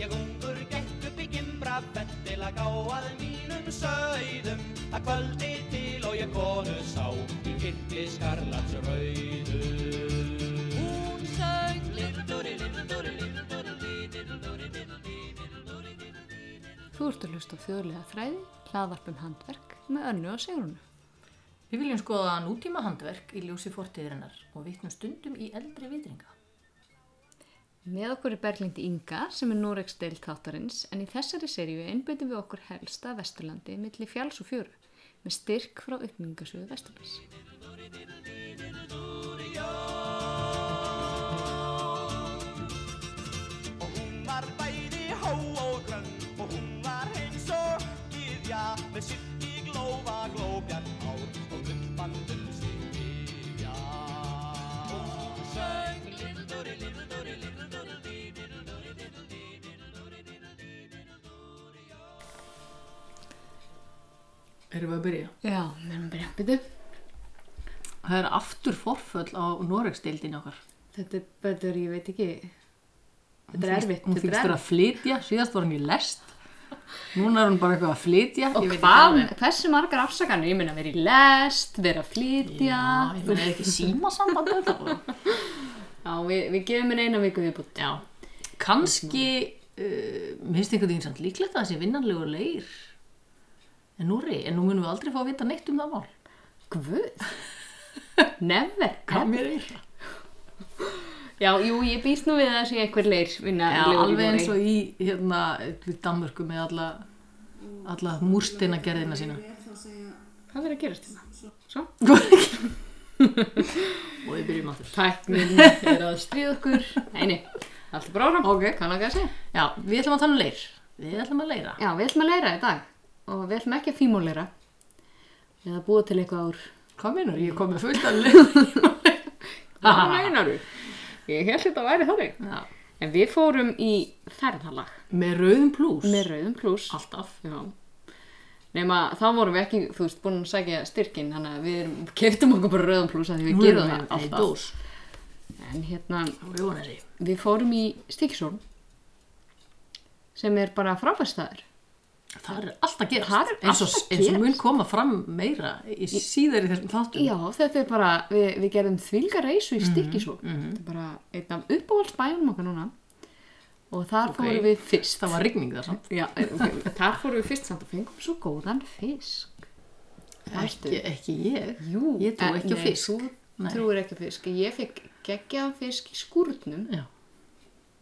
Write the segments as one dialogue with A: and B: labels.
A: Ég ungur gekk upp í gimbra fett til að gá að mínum sögðum að kvöldi til og ég konu sá í kitli skarlats rauðu Hún sög Little-dúri, little-dúri, little-dúri, little-dúri, little-dúri, little-dúri, little-dúri
B: Þú ert að hlusta á þjóðlega þræði, hlaðvarpum handverk með önnu og sigrunu.
C: Við viljum skoða nútíma handverk í ljósi fortíðirinnar og vitnum stundum í eldri vitringa.
B: Með okkur er Berglind Inga sem er Norex deil þáttarins en í þessari seríu einbyttum við okkur helsta Vesturlandi milli fjáls og fjöru með styrk frá uppmyngasöðu Vesturlands.
A: Og hún var bæði hó og grönn Og hún var heims og gyðja Með sitt í glófa glóbjarn ár Og gumbandum sig viðja Og hún söng Little-dúri, little-dúri, little-dúri, little-dúri, little-dúri, little-dúri, little-dúri
D: Erum við að byrja?
B: Já, meðan við erum byrjað.
D: Það er aftur forföll á Noregsdeildin okkar.
B: Þetta er betur, ég veit ekki, þetta
D: Hún þykist vera að flytja, síðast var hún í lest. Núna er hún bara eitthvað að flytja.
B: Og
D: ég veit ekki
B: hvað,
D: alveg.
B: hversu margar afsakanir, ég meina verið í lest, verið að flytja.
C: ég meina er ekki símasamband að það.
B: Já, við, við gefum henni eina viku viðbútt.
D: Já. Kanski, uh, minnst einhvern veginn samt líklegt að það sé vinnanlegur leir. En nú rey, en nú munum við aldrei fá að vita neitt um það mál.
B: Guð, never,
D: Hvað mér er?
B: Já, jú, ég býst nú við að það sé einhver leir vinna
D: Já,
B: legur í
D: alveg eins
B: Noregi.
D: og í hérna, við Danmörku með alla, alla múrstina gerðina sína.
B: Hvað er að gerast hérna? þetta? Svo?
D: Og við byrjum aftur.
B: Tæknin er að stríða okkur. Nei, nei, allt er bara áram. Ok. Hvað langar að segja?
D: Já, við ætlum að tala um leir. Við ætlum að leira.
B: Já, við ætlum að leira í dag og við ætlum ekki að fímuleira. Eða búa til eitthvað ár.
D: Hvað meinar? Ég kom með fullt af leir.
B: Hvað meinar þú? Ég held þetta að væri þannig.
D: Já.
B: En við fórum í ferðalag
D: Með rauðum plús.
B: með rauðum pluss.
D: Alltaf.
B: Já. Nefna, þá vorum við ekki, þú veist, búin að sækja styrkinn, þannig að við keftum okkur bara rauðum pluss að því við gerum það
D: alltaf.
B: alltaf. En hérna,
D: Og ég vona þessi.
B: við fórum í Stíkisólm sem er bara frábærstaður
D: Það er alltaf gerast.
B: Það er
D: eins og,
B: allt að
D: Eins og mun
B: gerast.
D: koma fram meira í síðar í þessum þáttum.
B: já þetta er bara, við, við gerðum þvílga reisu í
D: Mhm,
B: Stíkisólm þetta er bara einn af uppáhaldsbæjunum okkar núna og þar
D: Ok.
B: fórum við fyrst
D: Það var rigning þar samt.
B: já, okay, þar fórum við fyrst samt og fengum svo góðan fisk Ertu?
D: Ekki, ekki ég.
B: Jú,
D: Ég trúi
B: eh,
D: ekki á
B: nei,
D: fisk.
B: þú
D: Nei.
B: trúir ekki á fisk ég fekk geggjaðan fisk í skúrnum
D: Já.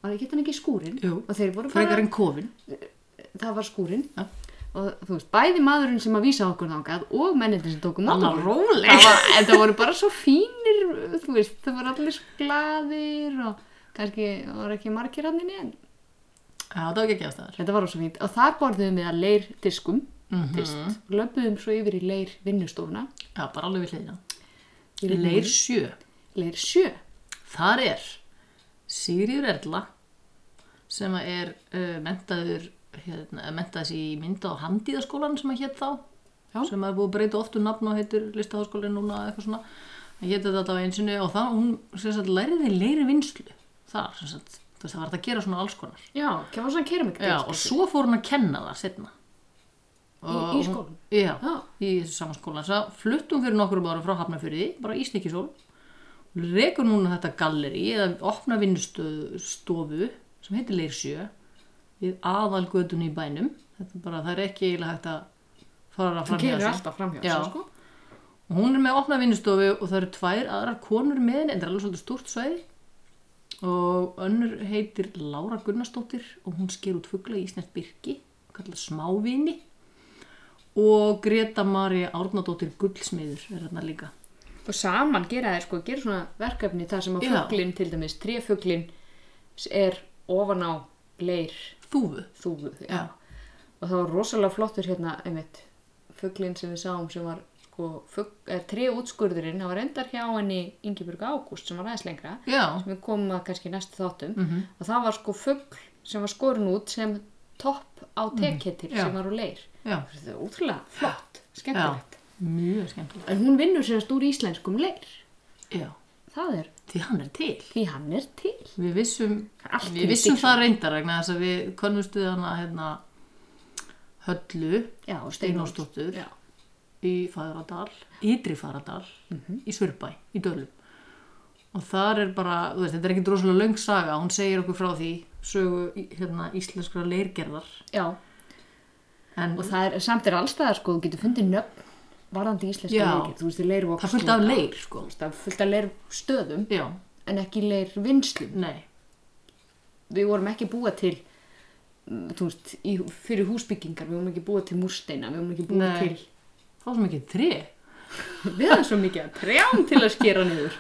B: var það ekki þannig í skúrin
D: Jú.
B: og þeir voru bara
D: Frekar en kofin.
B: það var skúrin
D: Já.
B: og þú veist, bæði maðurinn sem að vísa okkur þangað og mennindin sem tóku
D: Það var
B: mátur
D: róleg.
B: en það voru bara svo fínir þú veist, það voru allir svo glaðir og kannski voru ekki margir hann inni en
D: Já, það var ekki ekki ástæðar.
B: þetta var svo fínt og þar borðum við að leir diskum
D: Mm
B: fyrst, löpum svo yfir í leir vinnustofuna
D: Já, bara alveg við hliðina.
B: Yfir í
D: Leir sjö.
B: leir sjö
D: Þar er Sigriður Erla sem að er uh, mentaður hérna, mentaðis í mynda og handíðaskólan sem að hétt þá
B: Já.
D: sem að er búið að breyta oft um nafn og heitir listaháskólin núna eða eitthvað svona hann hétt þetta alltaf einu sinni og það hún sem sagt læriði leiri vinslu þar sem sagt þú veist það var þetta að gera svona alls konar
B: já, það var svona keramik
D: Já, og svo fór hún að kenna það setna
B: í skólanum?
D: Já,
B: Já.
D: í þessu sama skóla Svo fluttum fyrir nokkrum ára frá Hafnafjörði bara í Stikisól rekur núna þetta galleri eða opna vinnustofu sem heitir Leirsjö við aðalgötunni í bænum þetta er bara, það er ekki eiginlega hægt að fara fram
B: keyrir alltaf framhjá
D: Já.
B: þessu, sko.
D: og hún er með opna vinnustofu og það eru tvær aðrar konur með henni, en það er alveg svolítið stúrt svæði og önnur heitir Lára Gunnarsdóttir og hún sker út fugla í snert birki kallað smávini og Greta Maria Árnadóttir Gullsmiður er hérna líka
B: og saman gera þeir sko, gera svona verkefni þar sem að
D: Já.
B: fugglinn, til dæmis tréfugglinn er ofan á leir
D: Þúfu
B: þúfu já. og það var rosalega flottur hérna einmitt, fugglinn sem við sáum sem var sko, fugg, er, tré útskurðurinn það var endar hjá henni Ingeborg Ágúst sem var aðeins lengra
D: Já, Mhm.
B: sem við komum að kannski í næstu þáttum og það var sko fuggl sem var skorin út sem topp á tekettil
D: Mhm. Já.
B: sem var úr leir
D: já,
B: það er útrúlega flott,
D: já
B: skemmtilegt
D: mjög skemmtilegt
B: en hún vinnur sérst úr íslenskum leir
D: Já,
B: það er
D: því hann er til.
B: Því hann er til.
D: Við vissum,
B: Allt til
D: við vissum
B: Dixon.
D: það reyndar vegna þess að við könnumst við hana hérna, höllu
B: Já,
D: Steinórsdóttur
B: Já.
D: í Fagradal, Ytri Fagradal, í Sörbæ, í Dölum. Og þar er bara, þú veist, þetta er ekki droslega löng saga, hún segir okkur frá því sögu í- hérna, íslenskra leirgerðar.
B: Já,
D: En
B: og það er, samt er allstaðar sko, þú getur fundið nöfn varðandi íslenska
D: Já.
B: leikir. Þú veist, leirvoks.
D: það er fullt af leir, sko.
B: Það er fullt af leir stöðum
D: Já,
B: en ekki leir vinslum.
D: nei,
B: Við vorum ekki búa til, mm, þú veist, í, fyrir húsbyggingar, við vorum ekki búa til múrsteina, við vorum ekki búa
D: Nei. það var svo mikið tré.
B: til, við erum svo mikið að prján til að skera niður.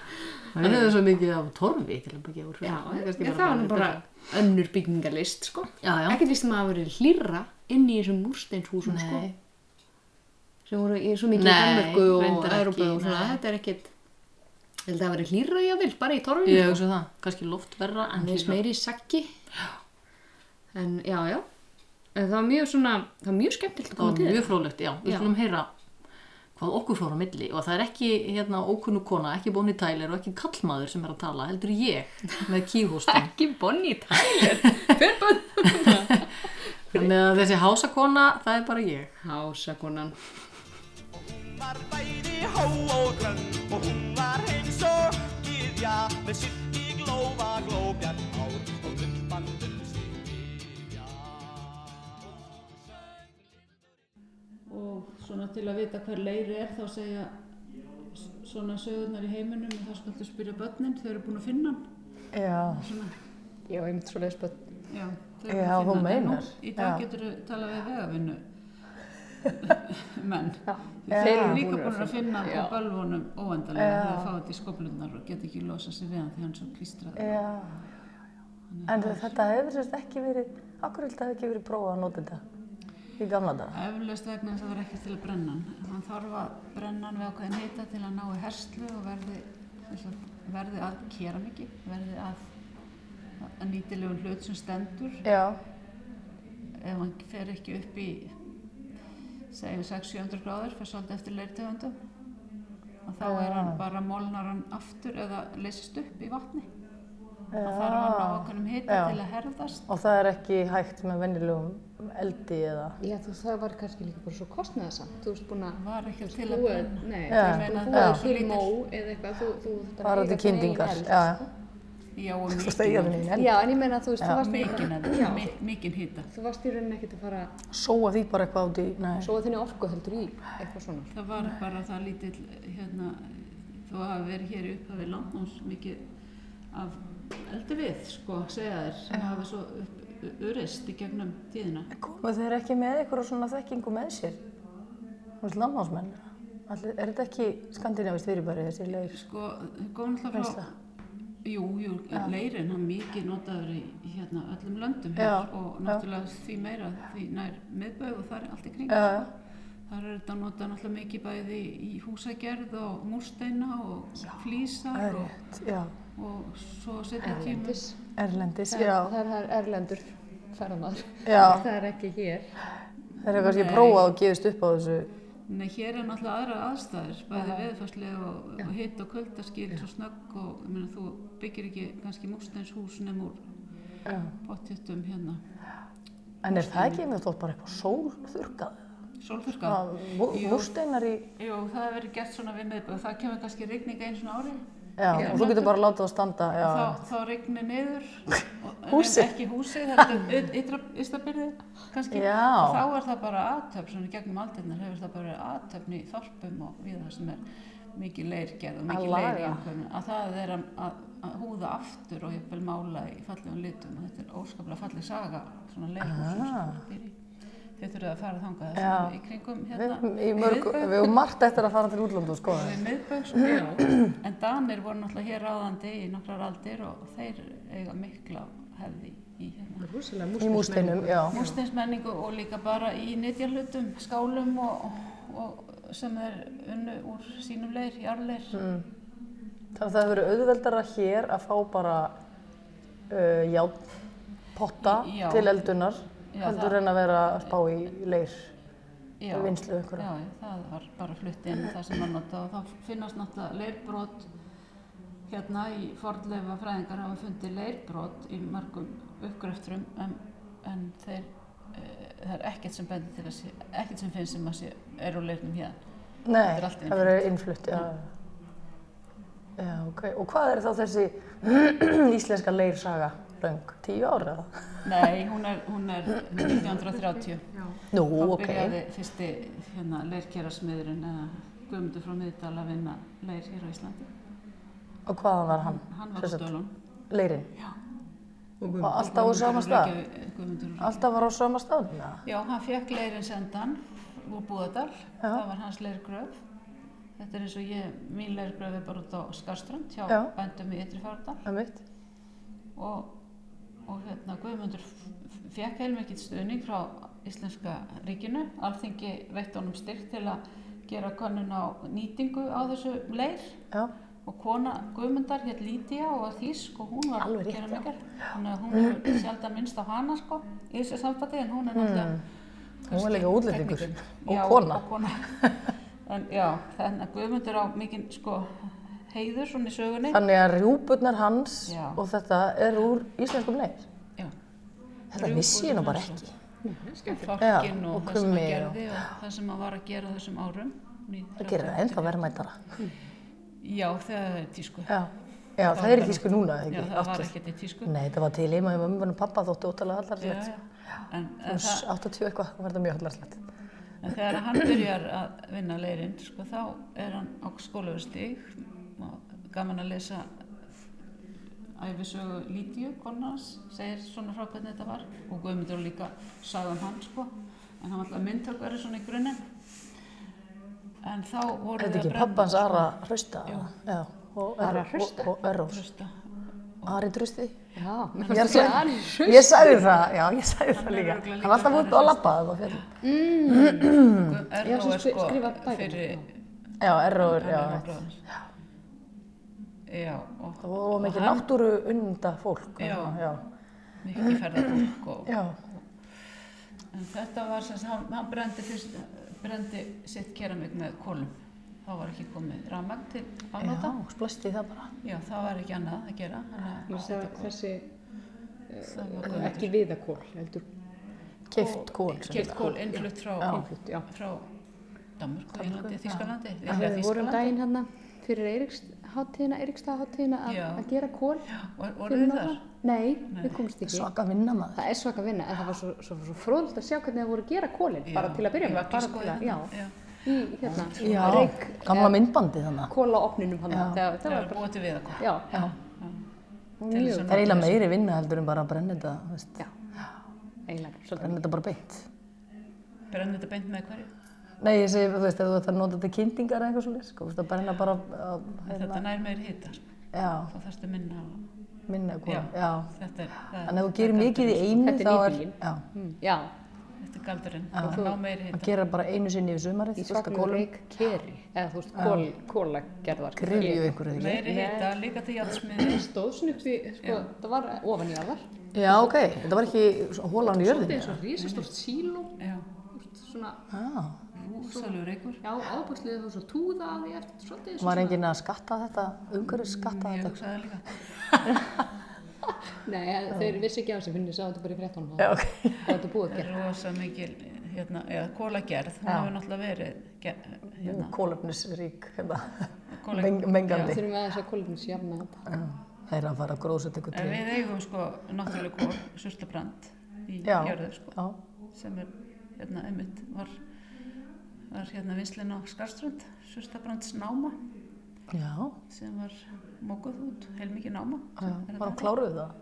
D: Það er svo mikið af torfi til að byggja úr.
B: Já,
D: er kannski
B: það var nú bara önnur byggingalist, sko.
D: Já, já.
B: Ekkert víst um að það hafi verið hlýrra inn í þessum múrsteinshúsum, sko.
D: Nei,
B: sem voru í svo mikið í
D: Nei,
B: Danmarku og
D: reyndar ekki,
B: Európa og svona,
D: nei.
B: þetta er ekkit ég held að það væri hlýra jáfnvel, bara í torfinu sko.
D: ég hugsa það. Kannski loftverra en
B: aðeins
D: hlýra.
B: meiri í saggi en já, já en það var mjög svona, það var mjög skemmtilegt að
D: Það
B: koma til
D: var
B: mjög...
D: mjög fróðlegt, já. Við
B: Já.
D: skulum heyra hvað okkur fór á milli og það er ekki hérna ókunnu kona, ekki Bonnie Tyler og ekki kallmaður sem er að tala, heldur ég með kíhóstan.
B: ekki Bonnie Tyler hver bönn
D: Þannig að þessi hásakona, það er bara ég.
B: hásakonan
A: Og hún var bæði hó og grönn og hún var eins og gyðja með sitt í glófa glóbjarn hár og gullbandum sín gyðja.
E: og svona til að vita hver leiri er þá segja s- svona sögurnar í heiminum og þá skaltu spyrja börnin, þau eru búin að finna hann
F: Já,
B: ég var einmitt svo leisbönn
E: Já, þau eru búin að finna
F: Já, þú
E: hann. En nú-
F: meinar.
E: Í dag
F: Já.
E: getur þau talað við vegavinnu menn
F: Já.
E: þeir eru
F: Já.
E: líka búin að finna hann á bölvunum óendanlega þegar þeir fá þetta í skoblunar og get ekki losa sér við hann þegar hann er svo klístraður
F: já. En þetta hefur sérst ekki verið, akkur held að það hefur ekki verið prófað að nota þetta í gamla daga.
E: Eflaust vegna þess að það var ekki til að brenna hann. Hann þarf að brenna hann við ákveðin hita til að ná í herslu og verði, þess að, verði að keramiki, verði að, að nýtilegum hlut sem stendur
F: Já,
E: ef hann fer ekki upp í segjum 600-700 gráður, fer svolítið eftir leirtegundum og þá er hann bara molnar hann aftur eða leysist upp í vatni. Það þarf að ná ákveðinum hita
F: Já.
E: til að herðast.
F: og það er ekki hægt með venjulegum eldi eða...
B: já, þú, það var kannski líka bara svo kostnaðasamt þú veist búin að
E: Var ekki til að brenna.
B: nei, þú
F: Já.
E: Ég meina,
B: búið
E: já.
B: til mó eða eitthvað þú, þú, þetta
F: Bara til kyndingar, já, já.
E: Já, og
F: Þú stegja
E: mikinn
F: þinn í
B: sko. já,
F: eld.
B: en ég meina þú veist, þú varst, í, Já.
E: mikinn eldi, mi- mikinn hita.
B: þú varst í rauninni ekkert að fara
F: Sóa því bara eitthvað út í... Nei.
B: svo að þinni orku heldur í eitthvað svona
E: Það var bara það lítill, hérna, þó að hafa verið hér í upphafi landnáms mikið af eldi við, sko, segja þér, sem hafa svo upp- urist í gegnum tíðina.
F: Komu þeir ekki með eitthvað svona þekkingu með sér? Þú veist, landnámsmenn. Allir, er þetta ekki skandinavist fyrirbæri þessi leir?
E: Sko, það kom náttúrulega
F: Veisla.
E: frá, jú, jú, leirinn, hann mikið notaður í hérna öllum löndum
F: Já,
E: hér og
F: já.
E: náttúrulega því meira því nær miðböð og það er allt í kring,
F: Já, já.
E: sko. Þar er þetta notað náttúrulega mikið bæði í húsagerð og múrsteina og flísar og,
F: Rétt, já.
E: og svo setja tíma.
F: Erlendis,
B: Það,
F: já.
B: það er erlendur ferðamæður.
F: Já.
B: Það er ekki hér.
F: Þeir eru kannski prófað og gefist upp á þessu.
E: Nei, hér er náttúrulega aðra aðstæður, bæði veðfarslega og, og hitt og kuldaskýr, svo snögg og ég meina, þú byggir ekki kannski múrsteinshús nefn úr
F: Já.
E: pottjöttum hérna.
F: En er það ekki einmitt oft bara eitthvað sólþurkað?
E: Sólþurka. Jú.
F: Múrsteinar í...
E: Jú, það hefur verið gert svona við miðböð, það kemur kannski rigning einu svona ári.
F: Já, og svo getur bara að láta það standa. Já,
E: Þá, þá rignir niður, og- en
F: Húsið.
E: ekki húsið, þetta er ystabyrðið kannski.
F: Já.
E: Og Þá er það bara aðtöfn, svona í gegnum aldirnar hefur það bara aðtöfn í þorpum og við það sem er mikið leirgerð og mikið leir í
F: laga.
E: einhvern, að það er að, að, að húða aftur og jafnvel mála í fallegum litum og þetta er óskaplega falleg saga, svona leirhúsum sem það býr í. Þið þurfið að fara þangað
F: Ah. Já.
E: þessum í kringum
F: við
E: hérna.
F: höfum í mörg,
E: miðbæ.
F: við höfum margt eftir að fara til útlöndu og skoða.
E: Við miðböks, já, en Danir voru náttúrulega hér ráðandi í nokkrar aldir og þeir eiga mikla hefði í hérna.
F: Í múrsteinum, já.
E: Múrsteinsmenningu og líka bara í nytjarlutum, skálum og, og sem þeir unnu úr sínum leir, jarleir.
F: Þannig að það hefur verið auðveldara hér að fá bara uh, já, potta
E: Já.
F: til eldunar
E: Já,
F: heldur
E: það-
F: en að vera að spá í leir.
E: Já,
F: vinnslu einhverja.
E: Já, já, það var bara flutt inn það sem var notað og þá finnast náttúrulega leirbrot hérna í fornleifa fræðingar hafa fundið leirbrot í mörgum uppgröfturum en, en þeir, e, það er ekkert sem bendir til að sé, ekkert sem finnst sem að sé er úr leirnum hér.
F: Nei,
E: er allt
F: það verður innflutt, já. Já, ok. Og hvað er þá þessi íslenska leirsaga löng? Tíu ára?
E: Nei, hún er, hún er 1930.
F: Nú,
E: Þá
F: ok.
E: byrjaði fyrsti hérna, leirkerasmiðurinn eða Guðmundur frá Miðdal að vinna leir hér á Íslandi.
F: Og hvaðan var hann?
E: Hann var
F: Sem
E: á
F: sagt,
E: stölun.
F: Leirinn. Og alltaf á sama stað?
E: Guðmundur frá
F: Alltaf var á sama stað? Já.
E: Já, hann fekk leirinn sendan úr Búðardal. Það var hans leirgröf. Þetta er eins og ég, mín leirgröf er bara út á Skarströnd hjá
F: Já.
E: bændum í Ytri Fárdal.
F: Það er mitt.
E: og, og hérna Guðmundur fekk heilmikið stuðning frá Íslenska ríkinu alþingi veitt honum styrk til að gera könnun á nýtingu á þessu leir
F: Já.
E: og kona Guðmundar hér Lídia og var þýsk og hún var
F: Alveg rétt,
E: gera mikil þannig að hún er sjaldan minnst á hana sko í þessu sambandi en hún er náttúrulega
F: Hmm. Hún var líka útlendingur. Og
E: Já,
F: kona.
E: og kona. en já, þannig að Guðmundur á mikinn sko heiður svona í sögunni
F: Þannig að rjúpurnar hans
E: Já.
F: og þetta er úr íslenskum leir.
E: já,
F: Þetta vissi ég nú bara ekki.
E: fólkin
F: Já,
E: og,
F: og
E: það sem
F: krummi
E: að
F: og-
E: gerði og það sem að var að gera á þessum árum
F: Það gerir það ennþá verðmætara.
E: Já, þegar það er tísku
F: Já. Já, það er í tísku núna, eða
E: Já,
F: ekki?
E: það var ekkert í tísku
F: Nei, þetta var til heima hjá mömmu og pappa þótti óttalega
E: já,
F: allarslegt.
E: já. En, en, það,
F: 80 eitthvað, það var þetta mjög allarslegt.
E: en þegar hann byrjar að vinna leirinn sko, þá er hann á skólaverstig gaman að lesa æfisögu Lítiðu konans segir svona frá hvernig þetta var og Guðmundur líka sagði um hann sko. en hann var alltaf myndtökveri svona í grunninn en þá voru
F: Er þetta
E: þau að
F: ekki
E: brenna,
F: pappans
E: sko.
F: Ara Hrausta? Já. Og Ara Hrausta? Og Örós.
E: Hlusta.
F: Ari Drusti?
B: Já,
F: Ég, er að
B: það
F: segja-
B: er
F: ég sagði það, já, ég sagði það
E: er
F: líka.
E: örugglega
F: Hann var alltaf
E: líka
F: út og lappaði það á fjöldum. Mm.
E: Erró
B: sem
E: er
B: skri-
E: sko
B: skrifa bækur.
E: fyrir
F: Já, Erróður, já.
E: Erró
F: rétt.
E: bróðir. Já, og
F: Það var mikið
E: hann-
F: náttúru unnda fólk.
E: Já.
F: já.
E: mikið ferðarfólk og
F: Já,
E: en þetta var sem sagt, hann, hann brendi, fyrst, brendi sitt keramik með kolum þá var ekki komið rafmagn til
F: já,
E: afnóta
F: splæsti það bara.
E: já, það var ekki annað að gera þannig að þetta kom-
B: þessi
E: það var komið
B: ekki viðakól, heldur
F: Keift kól. sem
E: keypt
F: þetta.
E: kól innflutt frá
B: innflutt, já.
E: frá Danmörku, Englandi, Þískalandi
B: Við vorum daginn hérna fyrir Eiriksháttíðina, Eirikstaháttíðina að,
E: Já.
B: að gera kól.
E: og
B: fyrir
E: voruð þið þar?
B: norðan. Nei, við komst ekki.
F: Svaka vinna maður.
B: Það er svaka vinna, en það var svo, svo, svo fróðult að sjá hvernig það voru að gera kólinn, bara til að byrja með, bara til að, já,
E: sko- já.
B: í hérna,
F: Já,
B: reik,
F: gamla myndbandi þannig.
B: kólaopninum hann, það,
E: það
B: það
E: var
B: var bara,
E: búið til við að koma
B: já, já,
E: Til þess
B: mjög,
E: að
F: Það er eiginlega meiri vinna heldur en bara að brenna þetta, þú veist,
B: já, eiginlega, svolítið,
F: brenna þetta bara beint.
E: brenna þetta beint með hverju
F: Nei, ég segi, þú veist, ef þú ætti að nota þetta kynningar eða eitthvað svolítið, sko, þú veist, að brenna bara, að,
E: þetta nær meir hita sko.
F: já,
E: þá þarfstu minna á-
F: minna
E: Já.
F: eitthvað, já.
E: þetta er, það,
F: Þannig að þú gerir mikið í einu,
B: Þetta er
F: þá er,
B: nýtingin.
F: já,
B: Mm, já,
E: þetta er galdurinn það ná meir
F: að
E: hita
F: gera bara einu sinni yfir sumarið,
B: í
F: fullt af
B: svaklega
F: kólum,
B: reik keri, eða þú veist, kól, kólagerðar,
F: grifju einhverju þig.
E: meiri hita líka til jálfsmiði
B: stóðsnugt í, sko, það var ofan í aðar,
F: Já, ok, þetta var ekki hólan í jörðinni.
B: eins og risastórt síló,
E: já
B: svona,
F: Já,
E: Úsalur einhver
B: já, ábúrslega þú svo túða að því eftir, svolítið,
F: var enginn að skatta þetta, umhverju skatta
E: ég
F: þetta.
E: hugsaði það líka
B: Nei, þeir vissi ekki á þessu finni, sá þetta bara í fréttunum
F: Já,
B: og
F: ok.
B: þetta er búið að
E: það
B: gera.
E: er rosa mikil hérna, eða kólagerð hún hefur náttúrulega verið ge- hérna,
F: Kólefnisrík, hérna,
E: Kólef-
F: Meng-
B: Við
F: mengandi.
B: þurfum aðeins að kólefnins jafna þetta.
F: Já, Það er að fara að gróðsett eitthvað
E: en
F: til.
E: við eigum sko náttúrulega kól surtabrand í
F: Já,
E: jörðu sko
F: já,
E: sem er hérna einmitt var var hérna vinslinn á Skarströnd surtabrands náma
F: já,
E: sem var mókuð út, heilmikið náma
F: já,
E: sem er að
F: var hann kláruð það?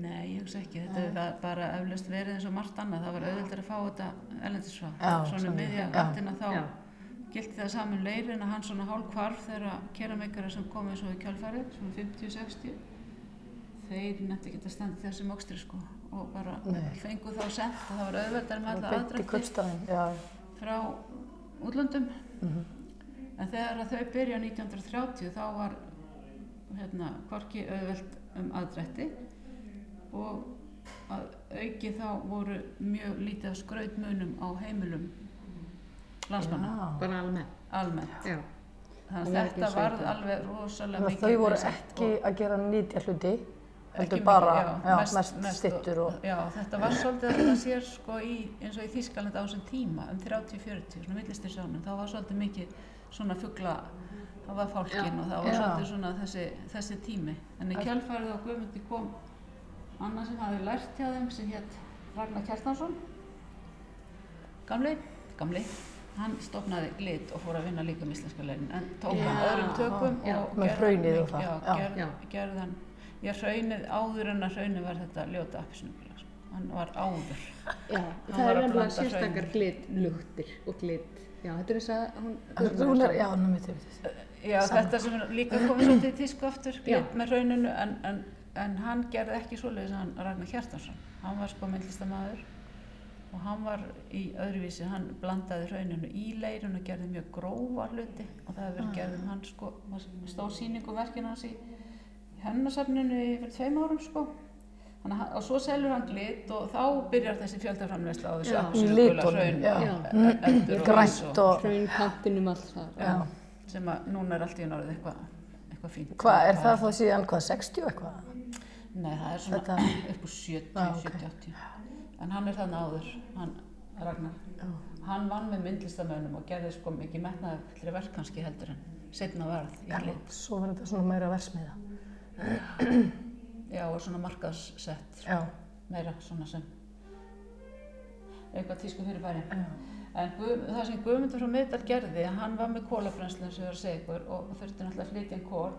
E: Nei, ég hugsa ekki. Þetta var bara eflaust verið eins og margt annað. Það var auðvitað að fá þetta ellendisfrá.
F: Já,
E: Svona
F: sammála.
E: miðja
F: Já.
E: gattina þá gildi það saman leirin að hann svona hálf hvarf þeirra keramikara sem komið svo í kjálfæri, svona 50-60. Þeir nætti ekki að standa í þessum okstri sko og bara fengu þá sent og það var auðveldar með alla
F: Beitt í
E: aðdrætti
F: kvöldstæðin, já,
E: frá útlöndum
F: Mhm.
E: en þegar að þau byrja 1930 þá var hérna hvorki auðvelt um aðdrætti og að auki þá voru mjög lítið af skrautmunum á heimilum landsmanna
F: já.
B: Bara almennt.
E: almennt
B: Já.
E: Þannig að þetta varð alveg rosalega
F: Þannig
E: mikið.
F: að þau voru
E: vesen
F: ekki að gera nýtja hluti,
E: ekki
F: heldur
E: mikið,
F: bara, já,
E: mest-
F: mest stittur og...
E: Já, þetta var svolítið að það sér sko í, eins og í Þískaland á þessum tíma, um 30-40, svona millistinsjónum, þá var svolítið mikið svona fuggla, þá var fálkin og þá var
F: Já.
E: svolítið svona þessi, þessi tími. En í kjálfærið á Guðmundi kom annar sem hafði lært hjá þeim sem hétt Ragnar Kjartansson, gamli, gamli. Hann stopnaði glit og fór að vinna líka með íslenska leirin, en tók hann öðrum tökum
F: já.
E: og
F: Með
E: gerði
F: hraunið og
E: mikið- Já,
F: það, já.
E: gerði
D: Já.
E: gerði hann, já hraunið, áður en að hraunið var þetta ljóta appisnugula, sko. hann var áður.
B: Já,
E: var
B: það
E: að
B: er alveg
E: blanda
B: sérstakar glitlugtir og glit. Já, þetta er þess að hún...
F: Hún er, já, ná, mitt, mitt, mitt.
E: Já, þetta sem er líka komið svolítið í tísku aftur, glitt með hrauninu, en, en, en hann gerði ekki svoleiðis hann Ragnar Hjartarsson, hann var sko myndlistamæður og hann var í öðruvísi, hann blandaði hrauninu í leirinu og gerði mjög grófa hluti og það hefur verið gerð um hann sko, stóð sýningu verkinu hans í hennarsafninu fyrir tveim árum sko. Þannig, að hann- og svo selur hann glitt og þá byrjar þessi fjöldaframleysla á þessu appelsínugula
F: Litunum,
E: hraun
F: já.
E: og eldur og eins
F: Grænt og...
B: Hraun kantinum alls það.
E: Já, sem að núna er allt í norðið eitthvað eitthva fínt.
F: Hvað, er það þá síðan, hvað, 60 eitthvað?
E: Nei, það er svona
F: Þetta-
E: upp úr 70, 70, 80. En hann er þannig áður, hann Ragnar. Hann vann með myndlistamönnum og gerði sko mikið metnaði fyrir verk kannski heldur en setna varð í lit.
F: Svo var þetta svona meira versmiða.
E: Já, og svona markaðssett.
F: Já.
E: meira svona sem eitthvað tísku fyrir bæri en Guð, það sem Guðmundur frá Miðdal gerði hann var með kólabrennslu eins og ég var að segja ykkur og þurfti náttúrulega að flytja inn kól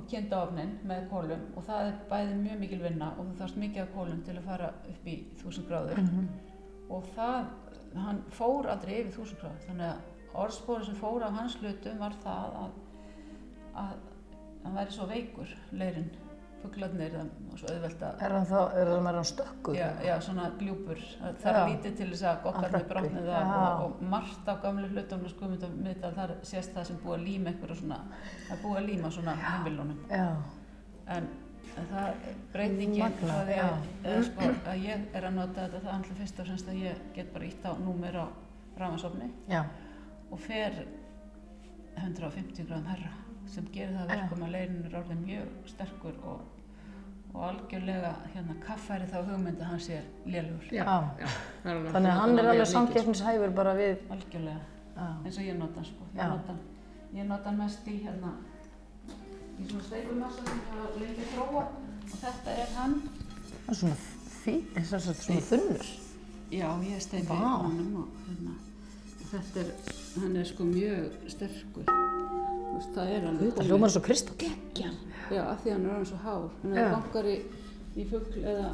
E: og kynda ofnin með kólum og það er bæði mjög mikil vinna og þú þarfst mikið af kólum til að fara upp í 1000 gráður og það hann fór aldrei yfir 1000 gráður þannig að orðspóri sem fór af hans hlutum var það að, að hann væri svo veikur leirinn, fuglarnir það var svo auðvelt að
F: Er hann þá, er hann meira hann stökkur?
E: Já, já, svona gljúpur. Það það er
F: Já.
E: lítið til þess að goggarni
F: hrökkvi.
E: brotni það
F: Já.
E: og, og margt á gamlu hlutunum skumundu miðdal þar sést það sem búið að líma einhverja svona, að búið að líma svona heimilunum.
F: Já.
E: En það breytingin,
F: Magnað,
E: það
F: já.
E: er, er sko að ég er að nota þetta það er alltaf fyrst og fremst að ég get bara ítt á númer á rámasofni
F: Já.
E: og fer 150 gráðum herra sem gerir það að verkum að leirinn er orðið mjög sterkur og, og algjörlega hérna kaffæri þá hugmynd að hann sé lélugur
F: Já.
B: Það er alveg-
F: Þannig að hann er alveg samkeppnishæfur bara við...
E: algjörlega
F: Já.
E: eins og ég nota hann sko
F: Já.
E: ég nota, hann- ég nota hann mest í hérna í svona steipumassa sem ég var lengi að þróa og þetta er hann
F: Það er svona fín, þess að svona þunnur.
E: já ég steipi
F: Vá.
E: honum og hérna og þetta er, hann er sko mjög sterkur Þú veist, það er alveg
F: Það hljómar eins og kristall. Já.
E: Já, af því að hann er orðin svo hár. Þannig að
F: Já.
E: það bankar í, í fuggl eða,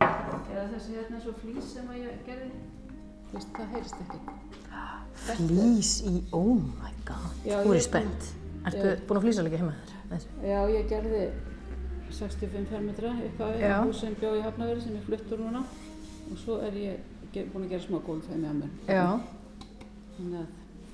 E: eða þessi hérna svo flýs sem að ég gerði. Þú veist, það heyrist ekkert.
F: Flís í, oh my god.
E: Já,
F: Þú
E: ég-
F: er spennt. Ertu búin að flýsa líka heima þér? með þessu?
E: Já, ég gerði 65 fermetra upp að
F: Já.
E: hús sem bjó í Hafnaveri sem ég fluttur núna. Og svo er ég ge- búin að gera smá gólf heim í mér.
F: Já.
E: Þannig að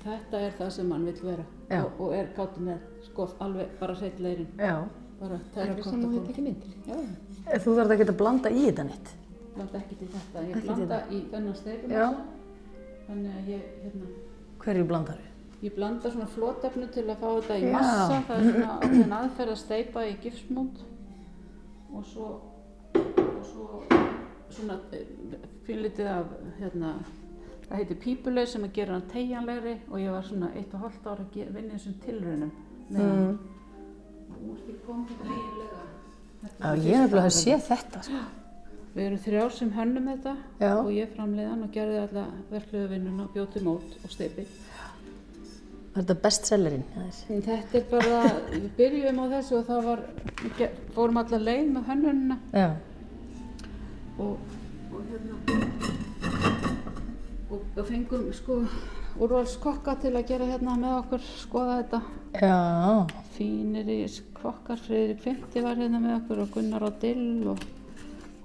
E: þetta er það sem hann vil vera.
F: Já.
E: Og, og er gáttið með, sko, alveg bara hreitt leirinn.
F: Já.
E: Bara
B: Það er
E: terra
B: sem hún
E: korta
B: hefði
E: gólf.
B: tekið myndir.
E: Já,
F: Eh, Þú þarf ekki að blanda í þetta neitt.
E: blanda ekki til þetta. Ég
F: Ekki til
E: blanda í þennan steipum.
F: Já.
E: Þannig að ég, hérna,
F: Hverju blandar þú?
E: Ég blanda svona flótefnu til að fá þetta í
F: Já.
E: massa, það er svona ákveðin aðferð að steipa í gipsmónd og svo, og svo svona fínlítið af, hérna, það heitir pípuleg sem að gera hann tegjanlegri og ég var svona eitt og hálft ára að ge- vinna í þessum tilraunum. Mm. Þú múst ekki koma þetta eiginlega.
F: Já, ég er nefnilega að sé þetta, sko.
E: Við erum þrjár sem hönnum þetta
F: Já.
E: og ég framleiðan og gerði alla verklega vinnuna, bjóti mót og steipi.
F: Er þetta bestsellerinn? hjá þér?
E: En Þetta er bara, við byrjum á þessu og það var, við ge- fórum allar leið með hönnunina
F: Já.
E: og, og hérna, og, og fengum sko úrvalskokka til að gera hérna með okkur, skoða þetta.
F: Já.
E: Fínir í kokkar, Friðrik 50 var hérna með okkur og Gunnar og Dill og,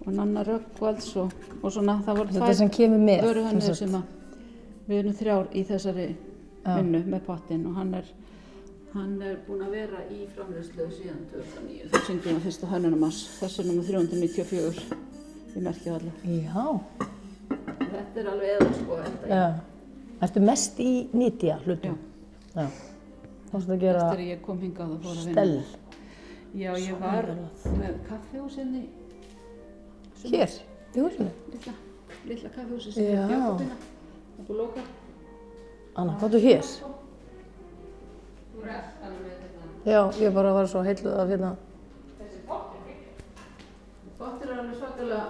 E: og Nanna Röggvalds og, og svona, það voru
F: Þetta sem kemur með,
E: vöru
F: sem
E: hönnuðir
F: sagt.
E: sem að við erum þrjár í þessari vinnu með pottinn og hann er hann er búinn að vera í framleiðslu síðan 2009 þá syngum við fyrsta hönnunum hans þessu er nummer 394 við merkjum allir
F: Já.
E: þetta er alveg eða sko þetta
F: Já. Ertu mest í nýtja
E: Já.
F: hlutum? Já. Þú veist að gera
E: Eftir að ég kom hingað og fór að vinna.
F: stell.
E: Já, ég var með hérna kaffihúsinni,
F: Hér, í húsinu.
E: litla, litla kaffihúsi sem er
F: Já.
E: Jakobina. Það er búið að loka.
F: Anna, hvað þú hér? Já, ég bara var svo heilluð af hérna.
E: Bóttir er alveg svakalega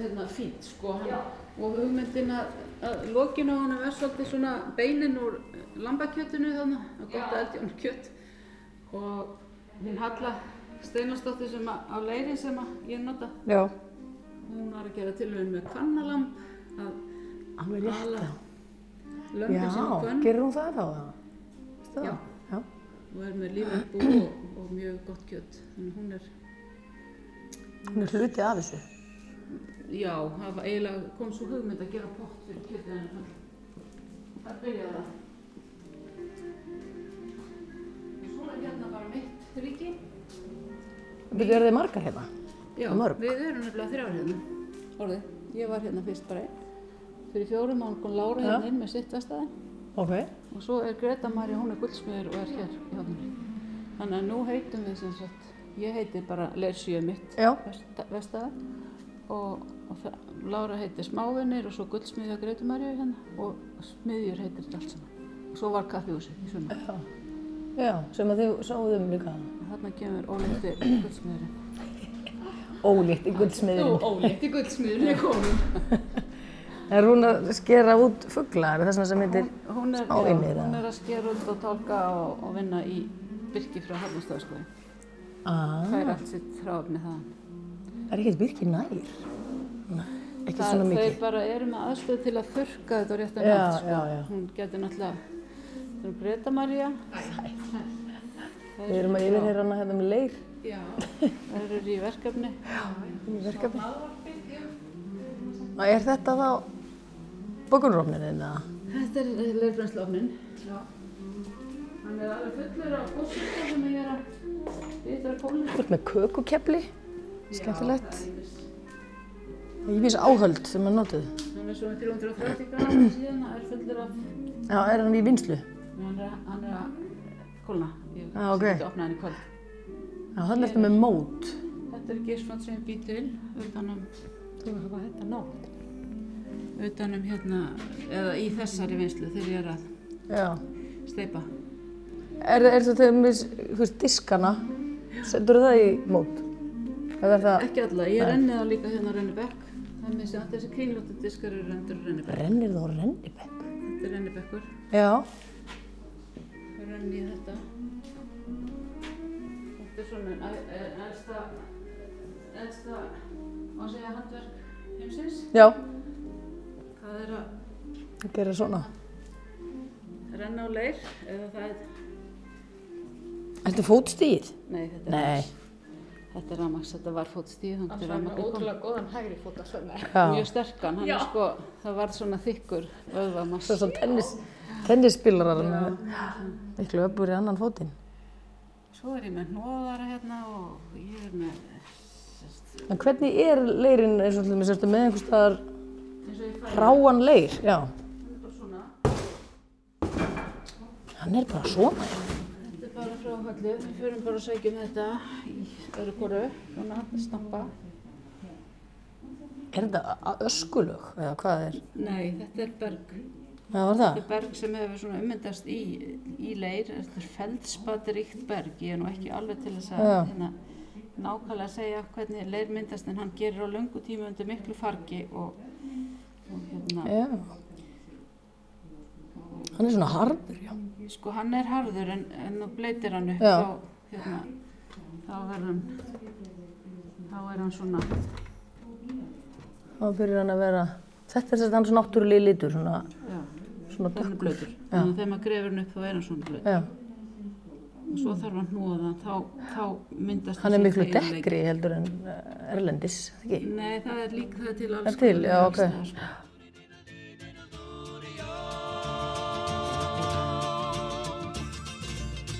E: hérna, fínt, sko. Hann, og hugmyndin að, að lokin á honum er svolítið svona beinin úr lambakjötinu þannig, að gott að eldi honum kjött. Og hún Halla Steinarsdóttir sem að, á leiri sem að ég nota,
F: Já.
E: hún var að gera tilhauðin með kannalamb, að
F: Alveg létt
E: ala
F: það.
E: lömbin sem á
F: Já,
E: könn
F: gerir hún það þá? eða? Veistu það?
E: Já.
F: Já.
E: og er með lífið bú og, og mjög gott kjött. Þannig hún er
F: Hún er hluti af þessu.
E: Já, það var eiginlega kom svo hugmynd að gera pott fyrir kjötið en það það byrjaði það. Og Svo er hérna bara mitt ríki.
F: Byrju, eru þið margar hérna?
E: Já,
F: Mörg.
E: við erum nefnilega þrjár hérna. Orðið, ég var hérna fyrst bara einn. Fyrir fjórum án kom Lára hérna inn með sitt vestæði
F: Ok.
E: og svo er Greta Marja, hún er guldsmiður og er hér í hafninu. Þannig að nú heitum við sem sagt, ég heiti bara Lersjö mitt
F: Já.
E: vestæða og, og það- Lára heitir Smávinnir og svo Guldsmiðja Greitumæriu hérna og Smiðjur heitir þetta allt saman. Og svo var kaffihúsi í sumar.
F: Já. Já, sem að þið sáðum líka.
E: Þarna kemur óleiti Guldsmiðurinn.
F: Ólíkt í guldsmiðurinn.
E: óleiti Guldsmiðurinn er komin.
F: Er hún að skera út fuggla? Er það svona sem heitir?
E: Hún er, já,
F: Smávinnir,
E: hún
F: eða?
E: er að skera út og tálka og, og vinna í byrki frá Hafnarstaðaskoði.
F: Ah,
E: Það er allt sitt þráfni þaðan.
F: er ekkert virkið nær? Nei, Ekki
E: Það,
F: svona
E: þau
F: mikið.
E: bara eru með aðstöð til að þurrka þetta á réttan
F: Já,
E: hátt, sko.
F: já, já.
E: Hún getur náttúrulega, það er Greta Maria.
F: Við erum að yfirheyra hana hérna með leir.
E: Það eru í verkefni.
F: í verkefni. Og er þetta þá bókunrófnin eða?
E: Þetta er leirbrennslofnin. Hann er alveg fullur af góðsýta sem ég er að vitra kólum.
F: Þú ert með kökukefli, skemmtilegt. Ívis áhöld sem er notuð.
E: Hann er svona 330 gráðum síðan, hann er fullur af...
F: Já, er hann í vinslu?
E: Hann er, að- hann er að kólna. Ég
F: Já, Ah, ok.
E: að opna hann í kvöld.
F: Já, það er eftir með mót.
E: Þetta er gisfant sem ég býtu inn utanum... Þú veist hvað þetta nátt? Utanum hérna, eða í þessari vinslu þegar ég er að
F: Já.
E: steipa.
F: Er, er þetta með, þú veist, diskana? Setur það í mót? Eða er það,
E: Ekki alla, ég renni það líka hérna á Rennibekk. Það er mér sem allt þessi kringlóttu diskar eru rendur á Rennibekk.
F: rennir það á rennibekk?
E: Þetta er Rennibekkur.
F: Já.
E: Það renni í þetta. Þetta er svona eðsta, eðsta, má segja handverk heimsins.
F: Já.
E: Það er að
F: Það gerir svona.
E: renna á leir, eða það er,
F: Þetta er fótstýr?
E: nei þetta er
F: Nei.
E: Þetta er ramax, þetta var fótstíð, þannig til ramax er komið.
C: góðan hægri fóta svona.
F: Já.
E: Mjög sterkan, hann er sko, það varð svona þykkur vöðvamass.
F: Það er svo tennis, tennisspilarar með miklu öflur í annan fótinn.
E: Svo er ég með hnóðara hérna og ég er með, sest,
F: En hvernig er leirinn eins og allir með sérstu með einhvers staðar
E: eins og ég fæ
F: ráan leir? Já.
E: bara svona.
F: Hann er bara svona, já.
E: Þetta er bara frá höllu, við förum bara að sækjum þetta í öðru koru, svona snappa.
F: Er þetta a- öskulög eða hvað er?
E: Nei, þetta er berg.
F: Það var
E: Þetta
F: það.
E: er berg sem hefur svona ummyndast í, í leir, þetta er feldspatrikt berg, ég er nú ekki alveg til þess að
F: Já.
E: hérna, nákvæmlega segja hvernig leir myndast en hann gerir á löngu tíma undir miklu fargi og, og hérna,
F: Já. Hann er svona harður, já.
E: sko hann er harður en, en þú bleitir hann upp
F: Já.
E: þá, hérna, þá verður hann, þá er hann svona,
F: Þá byrjar hann að vera, þetta er sérst hans náttúrulegi litur, svona,
E: já.
F: svona
E: Þannig
F: dökkur.
E: blöytur. Þannig að þegar maður grefur hann upp þá er hann svona blöytur.
F: Já.
E: Og svo þarf hann hnúða þá, þá myndast
F: Hann er
E: þessi
F: miklu
E: teygjanleiki.
F: dekkri heldur en eh, erlendis, ekki?
E: Nei, það er líka það er til alls.
F: Er til,
E: konar
F: já,
E: alls
F: ok.
E: staðar, sko.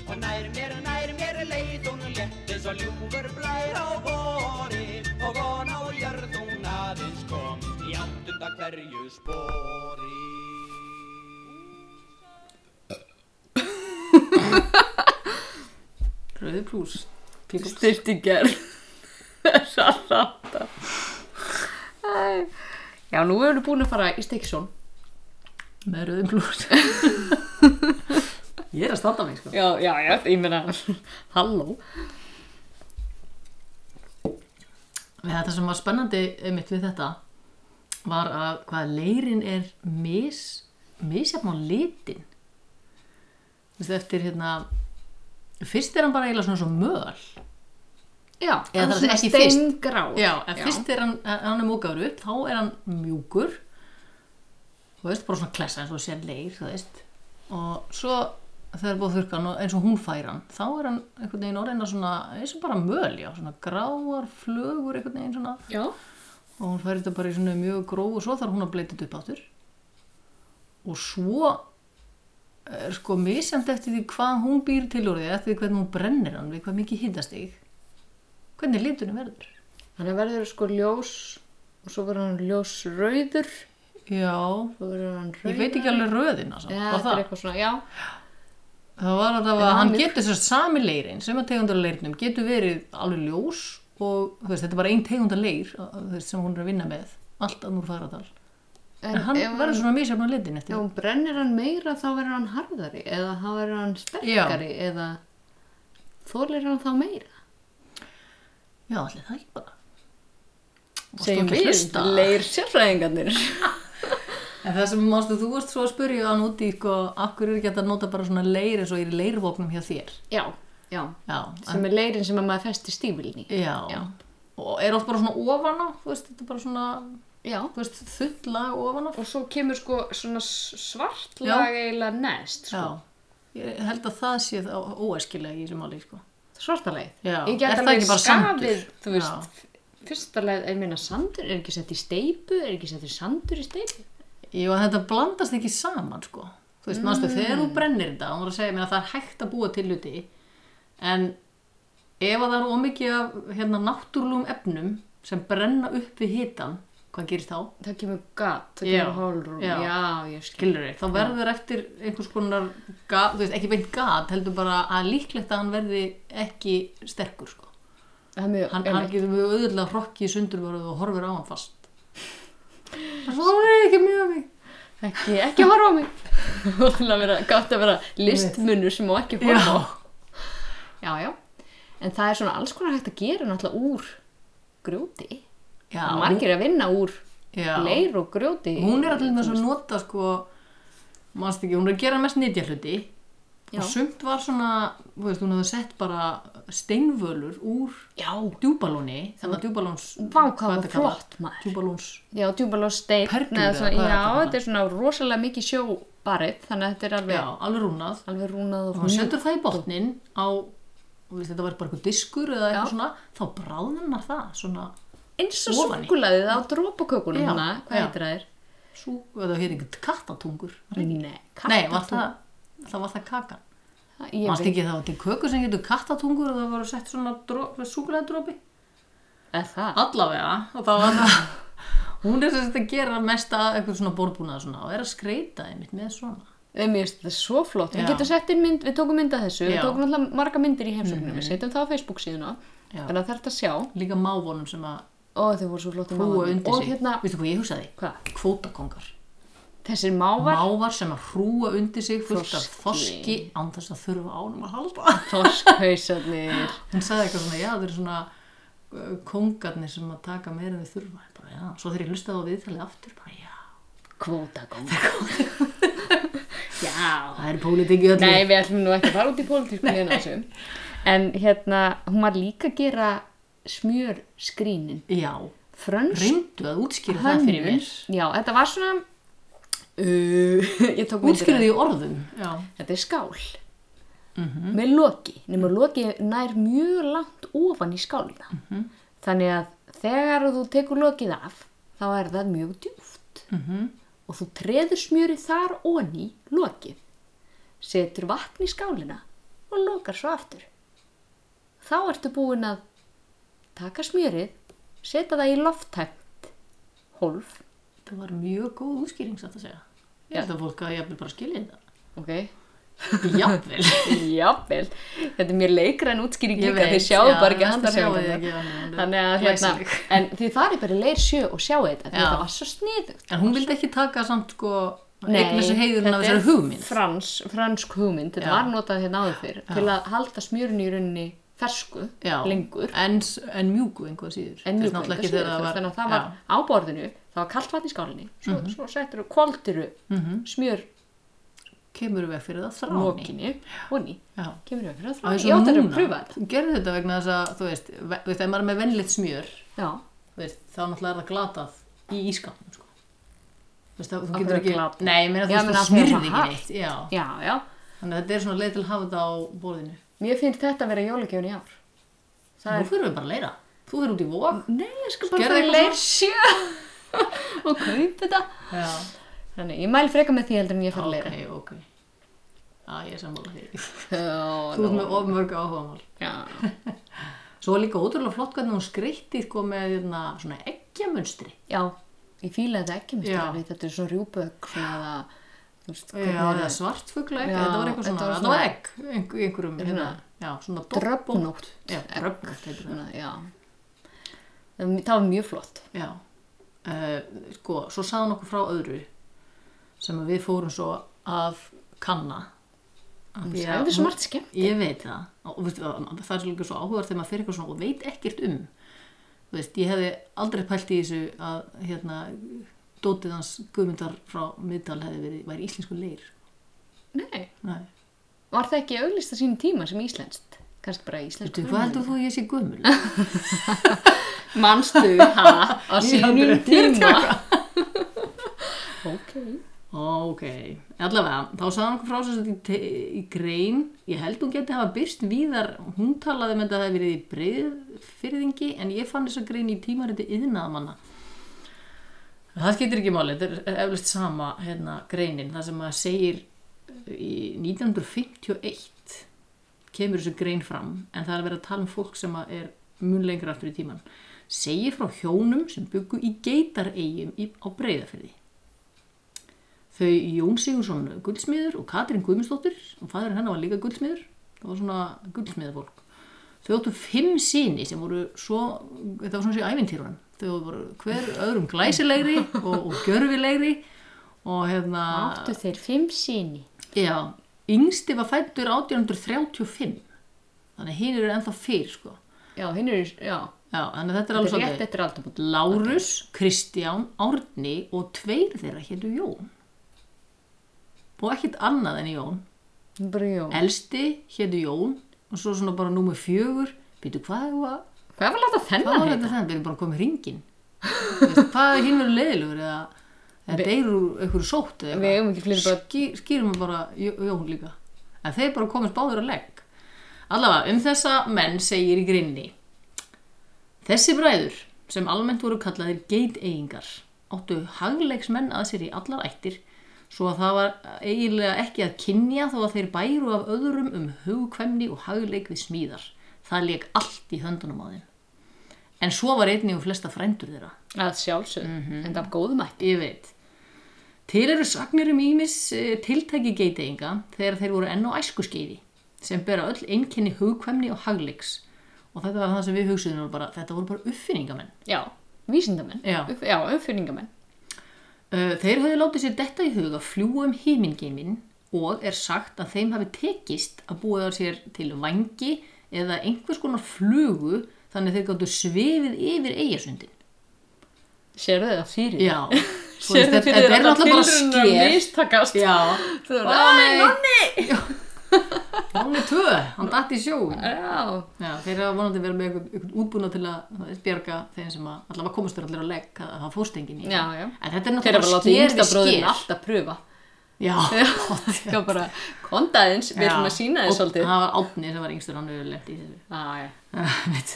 A: Og nær mér, nær mér leið hún létt eins og ljúfur blær á vori Og von á jörð hún aðeins kom í áttunda hverju spori
D: Fræði pluss Styrtingar Sallata
B: Já, nú erum við búin að fara í Stikksson.
D: Með rauðum pluss Ég er að standa mig sko
B: Já, já, já, ég meina, halló.
D: Við þetta sem var spennandi mitt við þetta var að hvað leirin er mis, misjafn á litin Vistu, eftir hérna fyrst er hann bara eiginlega svona svo möl
B: Já,
D: Eða
B: hann
D: það er
B: svona
D: ekki fyrst.
B: steingrár.
D: já, en fyrst er hann, ef hann er múkaður upp þá er hann mjúkur þú veist, bara svona klessa eins og sér leir þú veist og svo þegar búið að þurrka hann og eins og hún fær hann þá er hann einhvern veginn orðina svona eins og bara möl, já, svona gráar flögur einhvern veginn svona
B: Já,
D: og hún fær þetta bara í svona mjög gróf og svo þarf hún að bleita þetta upp áttur og svo er sko misjandi eftir því hvað hún býr til úr því eftir því hvernig hún brennir hann við hvað mikið hitastig hvernig litunum verður
B: hann verður sko ljós og svo verður hann ljós rauður.
D: já,
B: Svo verður hann rauður.
D: ég veit ekki alveg röðina samt,
B: Já,
D: var
B: þetta er
D: það,
B: eitthvað svona, já.
D: það var að það
B: En
D: var,
B: hann
D: hann
B: er-
D: getur sér sami leirin sem að tegundar leirnum getur verið alveg ljós og þú veist, þetta er bara ein tegundar leir þú veist, sem hún er að vinna með allt að núr faradal en hann
B: ef
D: verður svona misjafna litin
B: Ef
D: eftir
B: hún brennir hann meira þá verður hann harðari eða þá verður hann sterkari eða þólir hann þá meira.
D: Já, allir það ekki bara. Varstu
B: Segjum
D: ekki að hlusta?
B: leir sérfræðingarnir.
D: En það sem mástu, þú varst svo að spyrja hann út í, sko, af hverju er ekki hægt að nota bara svona leir eins og er í leirvopnum hjá þér?
B: já, já.
D: Já, en,
B: Sem er leirin sem að maður festi stífilni.
D: já.
B: Já.
D: Og er oft bara svona ofana, þú veist, þetta er bara svona,
B: Já.
D: þú veist, þull lag ofana.
B: Og svo kemur sko svona svart
D: Já.
B: lag eiginlega neðst.
D: Já,
B: Sko.
D: ég held að það sé það óæskilega í þessu máli, sko.
B: Svarta lagið.
D: Já.
B: Ég
D: Er
B: get
D: það
B: alveg
D: ekki bara
B: skafið,
D: sandur?
B: þú veist, fyrsta lagið er minna sandur, er ekki sett í steipu, er ekki sett í sandur í steipu.
D: Jú, en þetta blandast ekki saman, sko. Þú veist, mástu,
B: Mm.
D: þegar þú brennir þetta, hún var að segja mér að það er hægt að búa til hluti, en ef að það er ómikið af hérna, náttúrlegum efnum sem brenna upp við hitan, hvað gerist þá?
B: Það kemur gat, það
D: Já.
B: kemur hólrúm,
D: Já.
B: já. já, ég skil.
D: Skilur þig, þá verður eftir einhvers konar, gat, þú veist, ekki beint gat, heldur bara að líklegt að hann verði ekki sterkur, sko.
B: Það er mjög,
D: Hann,
B: einmitt.
D: hann getur mjög auðvitað hrokkið sundurvarað og horfir á hann fast. Það er ekki mjög mikið.
B: ekki, ekki horfa á mig til að vera, gátt að vera listmunur sem má ekki horfa á já, já, en það er svona alls konar hægt að gera náttúrulega úr grjóti,
D: Já,
B: margir að vinna úr
D: já.
B: leir og grjóti
D: hún er allir með þess að nota sko mannst ekki, hún er að gera mest nýtja hluti
B: Já.
D: og sumt var svona þú veist, hún hefði sett bara steinvölur úr
B: já,
D: djúbalóni þannig að djúbalóns
B: vá hvað
D: hvað
B: var
D: þetta kallað?
B: flott maður
D: djúbalóns
B: já, djúbal og stein
D: Perlur
B: neða
D: eða
B: svona-
D: hvað
B: já,
D: er þetta kallað?
B: þetta er svona rosalega mikið sjóbarið þannig að þetta er
D: já,
B: alveg,
D: alveg rúnað
B: alveg rúnað og
D: og hún setur það í botnin á þú veist, þetta var bara eitthvað diskur eða
B: Já.
D: eitthvað svona þá bráðnar það svona
B: eins og
D: ofan í.
B: súkulaðið á drópakökunum
D: Já,
B: hana, hvað
D: já.
B: heitir það er?
D: sú, eða hér eitthvað kattatungur var það ekki?
B: Nei,
D: nei, var það, það var það kakan
B: ég
D: Mást
B: veit,
D: ekki það var til kökur sem getur kattatungur og það voru sett svona súkulegdrópi?
B: eða það
D: Allavega, og það var það. Hún er sérst að gera mest að eitthvað svona borbúnað svona og er að skreita einmitt með svona.
B: Nei, mér finnst þetta svo flott. Við
D: Já.
B: getum sett inn mynd, við tókum mynd af þessu,
D: Já. Mhm.
B: við tókum alltaf marga myndir í heimsóknum, við setjum það á Facebook síðuna,
D: Já.
B: þannig að þetta sjá.
D: Líka mávonum sem að
B: Ó, þau voru svo flott að
D: hrúa undir
B: Og
D: sig.
B: hérna,
D: Veistu hvað ég hugsaði?
B: hvað?
D: Kvótakongar.
B: Þessir mávar,
D: Mávar sem að hrúa undir sig fullt af
B: Þorski.
D: þoski án þess að þurfa ánum að halda.
B: þorskhausarnir.
D: Hún sagði eitthvað svona, já þeir eru svona uh, kongarnir sem að taka meira en þau þurfa. Ég Bara, já. Svo þegar ég hlustaði á viðtalið aftur, bara já.
B: Kvótakongar. Já.
D: Það er pólitík í öllu.
B: Nei, við ætlum nú ekki að fara út í pólitíkunni en þessum. En hérna, hún var líka að gera smjörskrínin.
D: Já,
B: Frönsk
D: reyndu að útskýra það fyrir
B: hönnun.
D: mér.
B: Já, þetta var svona... Uh, ég tók myndir af
D: Útskýra því í orðum. Já.
B: Þetta er skál með loki, nema loki nær mjög langt ofan í skálina. Þannig að þegar þú tekur lokið af, þá er það mjög djúft og þú treður smjörið þar onni lokið, setur vatn í skálina og lokar svo aftur. Þá ertu búin að taka smjörið, setja það í lofthæmt hólf,
D: Það var mjög góð útskýring satt að segja. Ég held að fólk að ég bara skilja þetta.
B: ok,
D: Jafnvel.
B: Jafnvel, þetta er mjög leikra en útskýring
D: Ég
B: líka,
D: veit,
B: þið sjáu
D: já,
B: bara ekki
D: þið sjáið
B: handarhefingarnar.
D: ekki, já, hún er
B: Þannig að hérna,
D: glæsileg.
B: en þið farið bara í leir sjö og sjáu þetta, því
D: Já.
B: þetta var svo sniðugt.
D: En hún vildi ekki taka samt sko
B: Nei,
D: eignis og heiðurinn af
B: þetta
D: þessari
B: er
D: hugmynd.
B: Frans, fransk hugmynd, þetta
D: Já.
B: var notað hérna áður fyrr til að halda smjörun í rauninni fersku
D: Já.
B: lengur
D: En, s- en mjúku einhvað síður.
B: en mjög lengur
D: náttúrulega ekki
B: síður
D: þegar það var...
B: þannig að það var
D: Já.
B: á borðinu, það var kallt vatn í skálinni svo, mm -hmm. svo settur þú kvaldiru mm -hmm. smjör
D: Kemur við fyrir það þráni.
B: mókinni og ný,
D: Já.
B: kemur við fyrir
D: Það
B: það
D: er
B: ég
D: svo
B: átti að
D: núna.
B: pröfa þetta
D: Þú gerði þetta vegna þess að, þú veist, ve- þú veist, ef maður er með vennlegt smjör,
B: já,
D: þú veist, þá náttúrulega er það glatað í ískapnum, sko. Þú veist, það- þú
B: Af
D: getur
B: hverju
D: ekki...
B: glatað?
D: Nei, ég
B: Já,
D: meina þú
B: meina
D: veist,
B: af
D: þú
B: því að
D: smyrði
B: það
D: ekki
B: hart.
D: neitt. Já.
B: já, já
D: Þannig að þetta er svona leið til að hafa þetta á borðinu.
B: mér finnst þetta að vera jólagjöfun í ár það er,
D: Nú fyrir við bara að leira. Þú fyrir út í vok.
B: nei, ég skal bara
D: Gerðu
B: fara í
D: eitthvað
B: leir sjö og kaup þetta
D: Já.
B: þannig, ég mæli freka með því heldur en ég fara að
D: Ok,
B: leira
D: ok. Já, ég er sammála þér.
B: Já,
D: Þú ert
B: nú,
D: með of mörg áhugamál.
B: já.
D: Svo var líka ótrúlega flott hvernig hún skreytti sko með hérna, svona eggjamunstri.
B: já, ég fíla þetta ekki mér
D: Já.
B: stærri, þetta er svo rjúbögg svona það, þú veist,
D: Já,
B: hvernig er
D: eða
B: það
D: svartfugla egg,
B: Já,
D: þetta var eitthvað
B: þetta
D: svona,
B: var
D: þetta var egg, einhver, einhverjum,
B: Svona-
D: hérna, já, svona doppótt.
B: dröfnótt
D: Já, dröfnótt heitir það.
B: svona, já það var- það var mjög flott
D: Já, uh, sko, svo sagði hún okkur frá öðru sem að við fórum svo að kanna. Af
B: hún
D: því að
B: sagði svo margt skemmt
D: Ég veit það og veistu, það það er svo líka svo áhugað þegar maður fyrir eitthvað svona og veit ekkert um Þú veist, ég hefði aldrei pælt í þessu að hérna, dótið hans guðmyndar frá miðdal hefði verið, væri íslensku leir
B: Nei.
D: Nei,
B: var það ekki auðlist að sínu tíma sem íslenskt kannski bara íslenskt
D: veitu, hvað heldur þú að ég sé guðmul?
B: manstu ha á sínum
D: 1940
B: tíma ok
D: ok, allavega þá sagði hann okkur frá þess að í, te- í grein ég held hún geti hafa byrst víðar hún talaði með þetta að það hefði verið í breyðfyrðingi en ég fann þessa grein í tímariti yðnaðamanna En Það skiptir ekki máli, þetta er eflust sama hérna, greinin, það sem maður segir í 1951 kemur þessu grein fram en það er að vera að tala um fólk sem að er mun lengra aftur í tíman segir frá hjónum sem byggu í geitareigum í, á breyðafyrði þau Jón Sigursson guldsmiður og Katrin Guðmundsdóttir og fæðurinn hennar var líka guldsmiður það var svona guldsmiðafólk þau áttu fimm síni sem voru svo, þetta var svona sér ævintýrunum þau voru hver öðrum glæsilegri og, og gjörfilegri og hérna
B: áttu þeir fimm síni
D: Já, yngsti var fættur 1835 þannig hinn eru ennþá fyrr sko.
B: já, hinn eru, já,
D: Já, þannig að þetta er alveg
B: þetta er rétt
D: svolítið
B: eftir aldamót
D: Lárus, Kristján, Árni og tveir þeirra hétu Jón og ekkert annað en Jón
B: bara jú
D: Elsti hétu Jón og svo svona bara númer fjögur býtu hvað er það?
B: hvað var láta
D: Hvað
B: þennan
D: var
B: heita?
D: þetta þannig? Við erum bara komið hringin Veist, Hvað er hinn verið leiðilegur eða, eða deyrur úr einhverju sótt eða
B: Við eigum ekki fleiri börn.
D: Ský- Skýrum við bara Jó- Jón líka En þeir bara komist báður að legg Allavega, um þessa menn segir í grinni Þessi bræður sem almennt voru kallaðir geiteyingar áttu hagleiksmenn að sér í allar ættir svo að það var eiginlega ekki að kynja þó að þeir bæru af öðrum um hugkvæmni og hagleik við smíðar. Það leik allt í höndunum á þeim. En svo var einnig og flesta frændur þeirra.
B: að sjálfsög,
D: Mhm.
B: en það var góðum ætti
D: Ég veit. Til eru sagnir um ímis tiltæki geiteinga þegar þeir voru enn á æskuskeiði sem bera öll einkenni hugkvæmni og hagleiks. Og þetta var það sem við hugsuðum voru bara, þetta voru bara uppfinningamenn.
B: já, vísindamenn,
D: Já.
B: Upp, já uppfinningamenn
D: Uh, Þeir höfðu látið sér detta í huga fljúa um himingeiminn og er sagt að þeim hafi tekist að búa það sér til vangi eða einhvers konar flugu þannig að þeir gáttu svefið yfir eigasundin.
B: sérðu það fyrir
D: Já, svo veist, þetta þetta er náttúrulega bara sker.
B: mistakast
D: Já,
B: Þú
D: Ó,
B: verður, "Æ,
D: nei.
B: Nonni!"
D: Nóni tvö, hann datt í sjóin.
B: Já,
D: Já, þeir hafa vonandi verið með einhvern einhvern útbúna til að þú veist, bjarga þeim sem að allavega komast þér allir á legg að það fórst enginn í.
B: já, já.
D: En þetta er
B: Þeir eru bara
D: náttúrulega bara
B: látið
D: sker
B: yngsta
D: við
B: bróðin
D: sker.
B: alltaf pröfa.
D: Já,
B: Það er bara kondaðins, við
D: Já.
B: erum að sína þér
D: Og
B: svolítið.
D: Það var átni sem var yngstur hann hefur lett í þessu.
B: Já, já.
D: Ah, veit,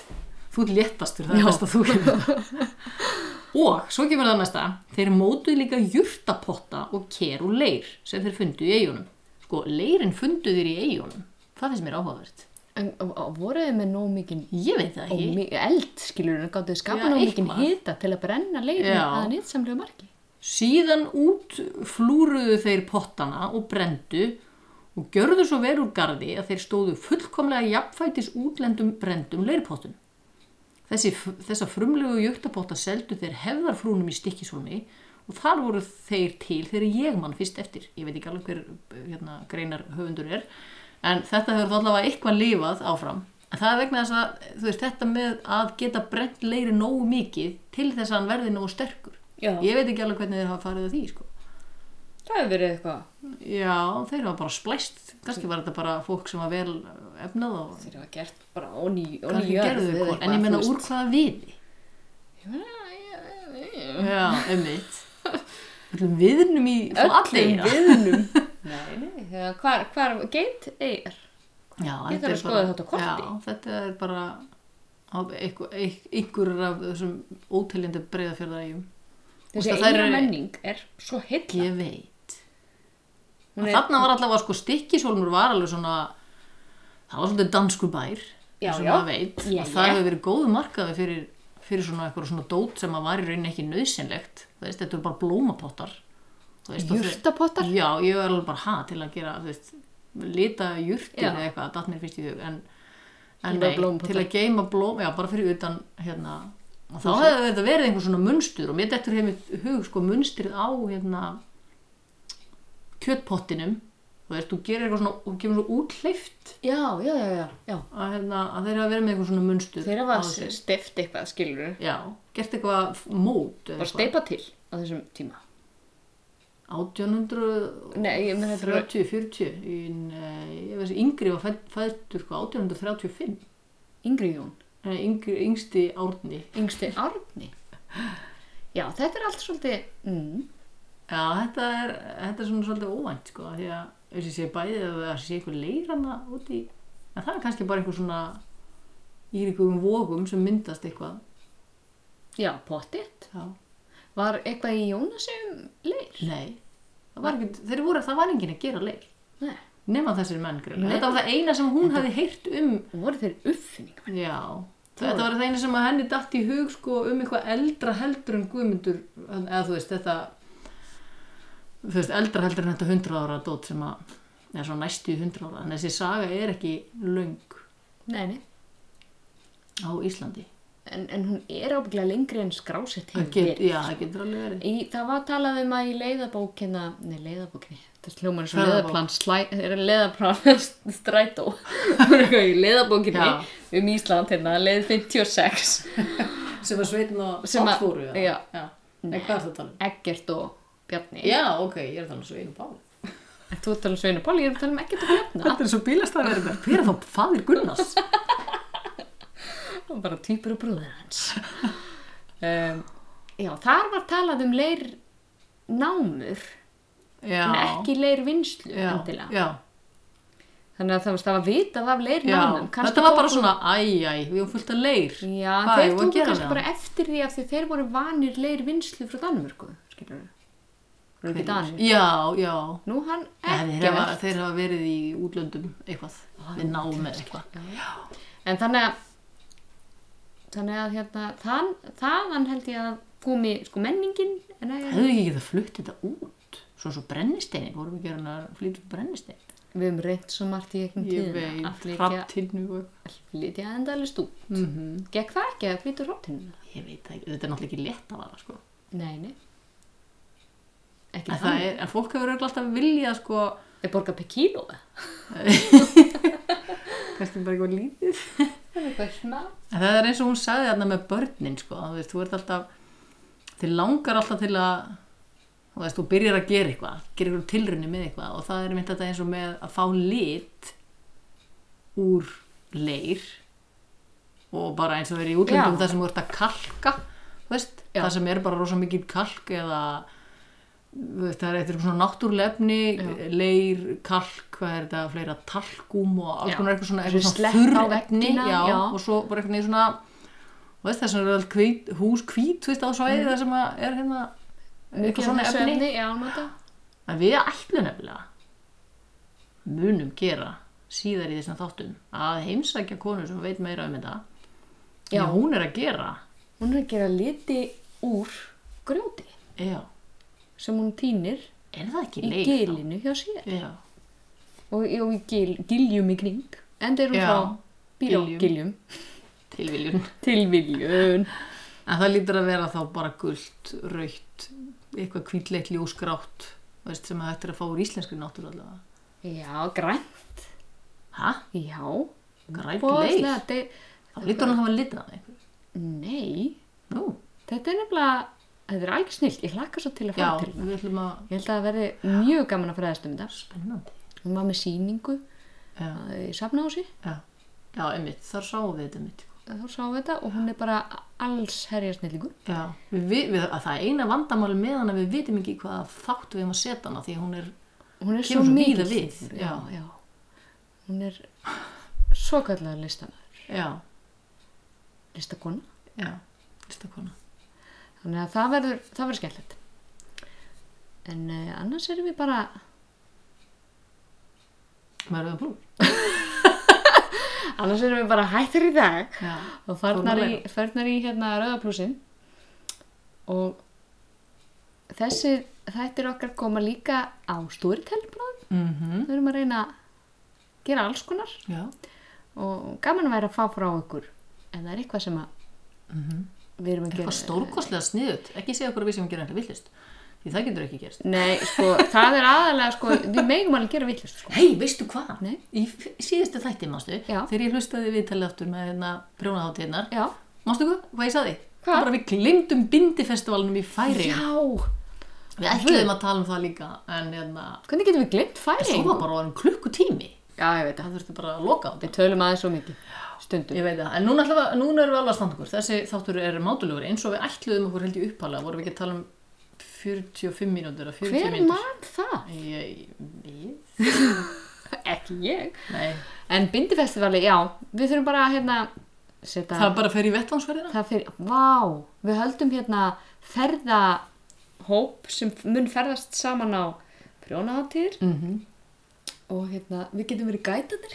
D: þú ert léttastur, það er best að þú kemur. og svo kemur það næsta. Þeir mótuð líka jurtapotta og ker og leir sem þeir fundu í eigunum. Sko, leirin fundu þeir í eigunum. Það finnst mér áhugavert.
B: En og- og voruð þið með nóg mikinn
D: Ég veit það
B: og
D: ekki.
B: mi- eld, skilur þið, gáttu þið skapa
D: Já,
B: nóg mikinn
D: eitthvað.
B: hita til að brenna leiðin
D: Já.
B: að nýtsamlega marki?
D: Síðan út flúruðu þeir pottana og brendu og gjörðu svo vel úr gardi að þeir stóðu fullkomlega jafnfætis útlendum brendum leirpottum. Þessi, þessa frumlegu jöktapotta seldu þeir hefðarfrúnum í stikkisólmi og þar voru þeir til þegar ég mann fyrst eftir. Ég veit ekki alveg hver eh, hérna, greinar höfundur er, en þetta hefur þó allavega eitthvað lifað áfram. En það er vegna þess að, þú veist, þetta með að geta brent leiri nógu mikið til þess að hann verði nógu sterkur.
B: Já.
D: Ég veit ekki alveg hvernig þeir hafa farið að því, sko.
B: Það hefur verið eitthvað
D: Já, þeir hafa bara splæst. Kannski var þetta bara fólk sem var vel efnað og
B: þeir hafa gert bara on í on í
D: kannski
B: jörð
D: gerðu
B: eða
D: þau
B: eitthvað,
D: hvort. En ég meina
B: þú
D: úr
B: veist.
D: hvaða viði? Já, einmitt. Öllum viðnum í
B: öllum
D: Flateyjar.
B: viðnum Nei, nei, þegar hvar, hvar geit eigir
D: Já,
B: Ég
D: þetta
B: þarf
D: er
B: að skoða
D: bara-
B: þetta á korti.
D: Já, þetta er bara af einhver, ein- einhverjar af þessum óteljandi breiðafjörðarægjum.
B: þessi
D: það þær
B: eiga
D: eru-
B: menning er svo heilla
D: Ég veit.
B: Hún
D: Er...
B: er-
D: Þarna var allavega sko stikkisólmur var alveg svona, það var svolítið dansku bær.
B: Já,
D: eins og
B: já.
D: maður Veit,
B: Já,
D: og það
B: já.
D: hefur verið góðu markaði fyrir, fyrir svona eitthvað svona dót sem að var í rauninni ekki nöðsynlegt. Þú veist, þetta eru bara blómapottar. Þú veist, og þeir-
B: jurtapottar
D: Já, ég var alveg bara ha til að gera, þú veist, lita jurtin
B: Já.
D: eða eitthvað, datt mér fyrst í hug, en,
B: Geyma
D: en nei,
B: blómapottar.
D: til að geima blóm, já, bara fyrir utan, hérna, og þá hefði þetta verið einhver svona munstur og mér dettur heimitt hug, sko, munstrið á, hérna, kjötpottinum, þú veist, þú gerir eitthvað svona, þú kemur svo útleift
B: já, já, já, já, já.
D: að, hérna, að þeir hafa verið með eitthvað svona munstur.
B: þeir
D: á
B: hafa
D: þessu.
B: steift eitthvað skilur
D: Já, gert eitthvað f- mót, eða
B: bara steipa til á þessum tíma
D: 1800
B: Nei, ég meina þetta var-
D: 30, 40 í, nei, ég veist, yngri var fædd- fæddur sko, 1835
B: Yngri Jón,
D: Nei, eh, yngri, yngsti árni
B: yngsti Arni já, þetta er allt svolítið mm,
D: já, þetta er, þetta er svona svolítið óvænt sko, af því að þess að sé bæðið að það sé eitthvað leirana úti en það er kannski bara einhver svona í einhverjum vogum sem myndast eitthvað
B: já, pottitt
D: já.
B: var eitthvað í Jónasum leir
D: nei, það var, ekkert, þeir voru, það var enginn að gera leir
B: nei,
D: nema þessir menn
B: Nei.
D: grunna þetta var það eina sem hún hafi heyrt um
B: og voru þeir uppfinningar
D: Já, þetta var það eina sem að henni datt í hug sko um eitthvað eldra heldur en guðmundur, eða þú veist þetta, þú veist eldra heldur en þetta 100 ára dót sem að, eða svo næstu í 100 ára, en þessi saga er ekki löng
B: nei, nei
D: á Íslandi.
B: en, en hún er ábygglega lengri en skrásett
D: Það
B: hefur
D: get,
B: verið.
D: já, það getur alveg verið.
B: Í, það var talað um að í leiðabókina, nei leiðabókinni, þetta sljómar eins og
D: Ferðabók.
B: leiðaplan, slæ, er leiðaplan strætó, Það var eitthvað í leiðabókinni
D: Já.
B: um Ísland hérna, leið 56,
D: Sem að sveitin og
B: Sem að- já.
D: já. Nei, hvað er það að tala um?
B: Eggert og Bjarni.
D: Já, ok, ég er að tala um svein og bál.
B: En Þú ert að tala um Sveinu Páli, ég er að tala um Eggert og Bjarni,
D: Þetta er svo bílastæðverðar. Hver er þá fadir Gunnars?
B: það var bara týpur og brúður hans. Um, já, þar var talað um leir námur,
D: já.
B: en ekki leir vinslu
D: já,
B: endilega.
D: Já,
B: Þannig að það var- það var vitað af
D: já.
B: leirnánum.
D: Þetta var bara svona, æj, æj, við erum fullt að leir.
B: Já,
D: Hvað
B: þeir
D: eigum við að
B: tóku
D: gera
B: kannski
D: við
B: bara eftir því af því þeir voru vanir leir vinslu frá Danmörku, skilur við. Voru ekki danir.
D: Já, já.
B: Nú hann
D: Ja, þeir,
B: ekki
D: hafa, þeir hafa verið í útlöndum eitthvað. Þeir náðu með eitthvað.
B: En þannig að, þannig að hérna, þann, þaðan held ég að komi sko menningin, en að,
D: Hefðu ekki getað flutt þetta út? Svo svo brennisteini, vorum við gerðin að flytja út brennistein.
B: við höfum reynt svo margt í einhvern tíðin að flytja,
D: hraptinnu og...
B: flytja endalist út. Mm
D: Mhm.
B: -hmm. Gekk það ekki að flytja rótinu?
D: Ég veit það ekki, þetta er náttúrulega ekki létt að vara, sko.
B: Nei, nei. Ekki
D: En, það
B: þannig.
D: er, en fólk hefur örugglega alltaf viljað, sko,
B: Þeir borga per kíló eða?
D: kannski bara eitthvað lítið.
B: Eitthvað smá.
D: En það er eins og hún sagði þarna með börnin sko, þú veist, þú ert alltaf þið langar alltaf til að þú veist, þú byrjar að gera eitthvað gera eitthvað tilrunni með eitthvað og það er mynd þetta eins og með að fá lit úr leir og bara eins og verið í
B: Já.
D: útlöndum það sem þú ert að kalka þú veist,
B: Já.
D: það sem er bara rosa mikið kalk eða þú veist, það er eitthvað svona náttúrlefni leir, kalk, hvað er þetta fleira talkum og alls
B: Já.
D: konar eitthvað svona,
B: Þessu
D: eitthvað svona
B: sletta á
D: þurr efni,
B: veggina,
D: já,
B: já.
D: og svo bara eitthvað svona og veist, það sem er alltaf hvít, hús hvít þú veist, á
B: Mm.
D: svæði það sem að er hérna eitthvað svona efni
B: Já, nota.
D: að við ætlum nefnilega munum gera síðar í þessum þáttum að heimsækja konu sem veit meira um þetta
B: Já.
D: já, hún er að gera
B: Hún er að gera liti úr grjóti
D: já,
B: sem hún týnir
D: er það ekki
B: í
D: leir þá?
B: gilinu hjá sér.
D: já,
B: og, og í gil, giljum í kring enda er hún
D: Já,
B: frá býr á
D: Giljum.
B: giljum
D: tilviljun.
B: til viljun
D: En það lítur að vera þá bara gult, raukt, eitthvað kvítleitt, ljósgrátt, veist, sem að þetta er að fá úr íslenskri náttúru allavega.
B: já, græn,
D: Hæ?
B: já
D: Grænt
B: Boðslega,
D: leir?
B: de,
D: Það lítur hann að hafa litað af einhverju.
B: nei,
D: Nú,
B: þetta er nefnilega þetta er alveg snill, ég hlakka svo til að
D: já,
B: fara til
D: við ætlum að...
B: ég held að það verði mjög gaman að fræðast um þetta
D: Spennandi.
B: hún var með síningu
D: Já,
B: í safnási
D: já. Já, einmitt, þar sáum við þetta einmitt. sko.
B: þá sáum við þetta og hún er bara alls herja snillingur
D: Já, við, við, við, að það er eina vandamáli með hana, við vitum ekki hvað þáttu við um að setja hana, því að hún er,
B: hún er svo
D: Kemur svo
B: mikil
D: víða við,
B: snillingur,
D: já.
B: já, já. hún er svo kallega listamæður
D: já,
B: listakona
D: já, listakona.
B: þannig að það verður, það verður skemmtilegt en uh, annars erum við bara
D: Mörðu að blú.
B: annars erum við bara hættir í dag
D: Já,
B: og farnar í,
D: Formállega.
B: farnar í hérna rauðaplúsin og þessi þættir okkar koma líka á stúritelbráð
D: mhm,
B: við erum að reyna að gera alls konar
D: já,
B: og gaman að vera að fá frá okkur en það er eitthvað sem að við erum að gera
D: Mhm. eitthvað stórkostlega sniðut, ekki segja okkur að við sem gerum eitthvað villist, því það getur ekki gerst.
B: Nei, sko, það er aðalega sko, við megum alveg gera villust sko.
D: Hei, veistu hvað?
B: Nei.
D: Í f- síðustu þætti, mástu,
B: Já.
D: þegar ég hlustaði viðtalið aftur með hérna prjónaháttirnar,
B: Já,
D: mástu hvað, hvað ég saði?
B: Hvað?
D: Bara við glimtum bindifestivalnum í færi.
B: já
D: Við ætluðum að tala um það líka, en hérna,
B: Hvernig getum við glimt færi?
D: svo var bara orðin klukkutími.
B: Já, ég veit það
D: Það þurfti bara að loka á þetta.
B: Við tölum aðeins svo mikið stundum
D: Ég veit það, en núna, ætlum við, að- núna erum við alveg að standa okkur. Þessi þáttur er mátulegur, eins og við ætluðum okkur held í uppalega, vorum við ekki að tala um 45 mínútur eða 40
B: Hver
D: mínútur.
B: man það?
D: Ég, ég,
B: Ekki ég
D: nei,
B: En bindifestivali, já, við þurfum bara að hérna setja
D: það bara fer í vettvangsverðina.
B: það fyrir, vá, við höldum hérna ferðahóp sem mun ferðast saman á prjónaháttir
D: Mm
B: og hérna, við getum verið gætanir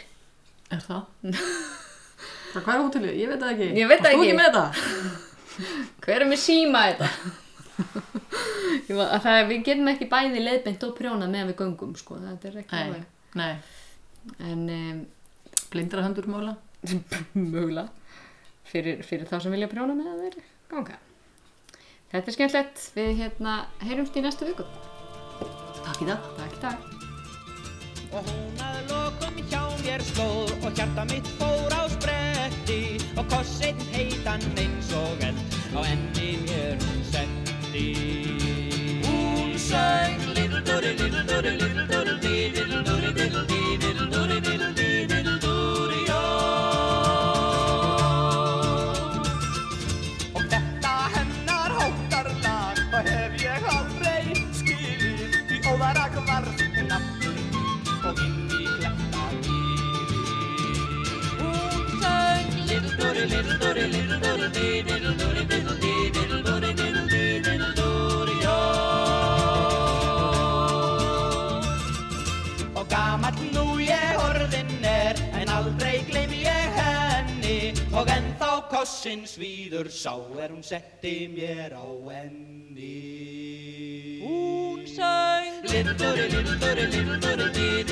D: Er það? það hvað er hótelið? Ég veit það ekki.
B: Ég veit það
D: Varst Þú
B: ekki.
D: ekki með það?
B: hver er með síma þetta? Ég var- að það, er- við getum ekki bæði leiðbent og prjónað meðan við göngum sko, þetta er ekki
D: Nei,
B: alveg
D: nei.
B: en um,
D: Blindra höndur mála.
B: mögulega fyrir, fyrir þá sem vilja prjóna með að þeir ganga þetta er skemmtilegt, við hérna heyrumst í næstu viku
D: Takk í dag.
B: takk, takk
A: og hún að lokum hjá mér stóð og hjarta mitt fór á spretti og kossinn heitan eins og eld á enni mér hún setti Hún söng Little Doody, Little Doody, Little Doody Dee, Little Doody, Little Dee, Little Doody, Little Dee, Little Doody Ó og þetta hennar hóttarlag og hef ég aldrei skilið því óðarag var hún aftur ný og inn í kletta hún sang little dory, little dory, little dory dee, little dory, little dee, little dory, little dee, little dory oh og gamall nú ég orðin er en aldrei gleym ég henni og ennþá kossin svíður sá er hún setti mér á enni Hún söng Little Dory, Little Dory, Little Dory dee,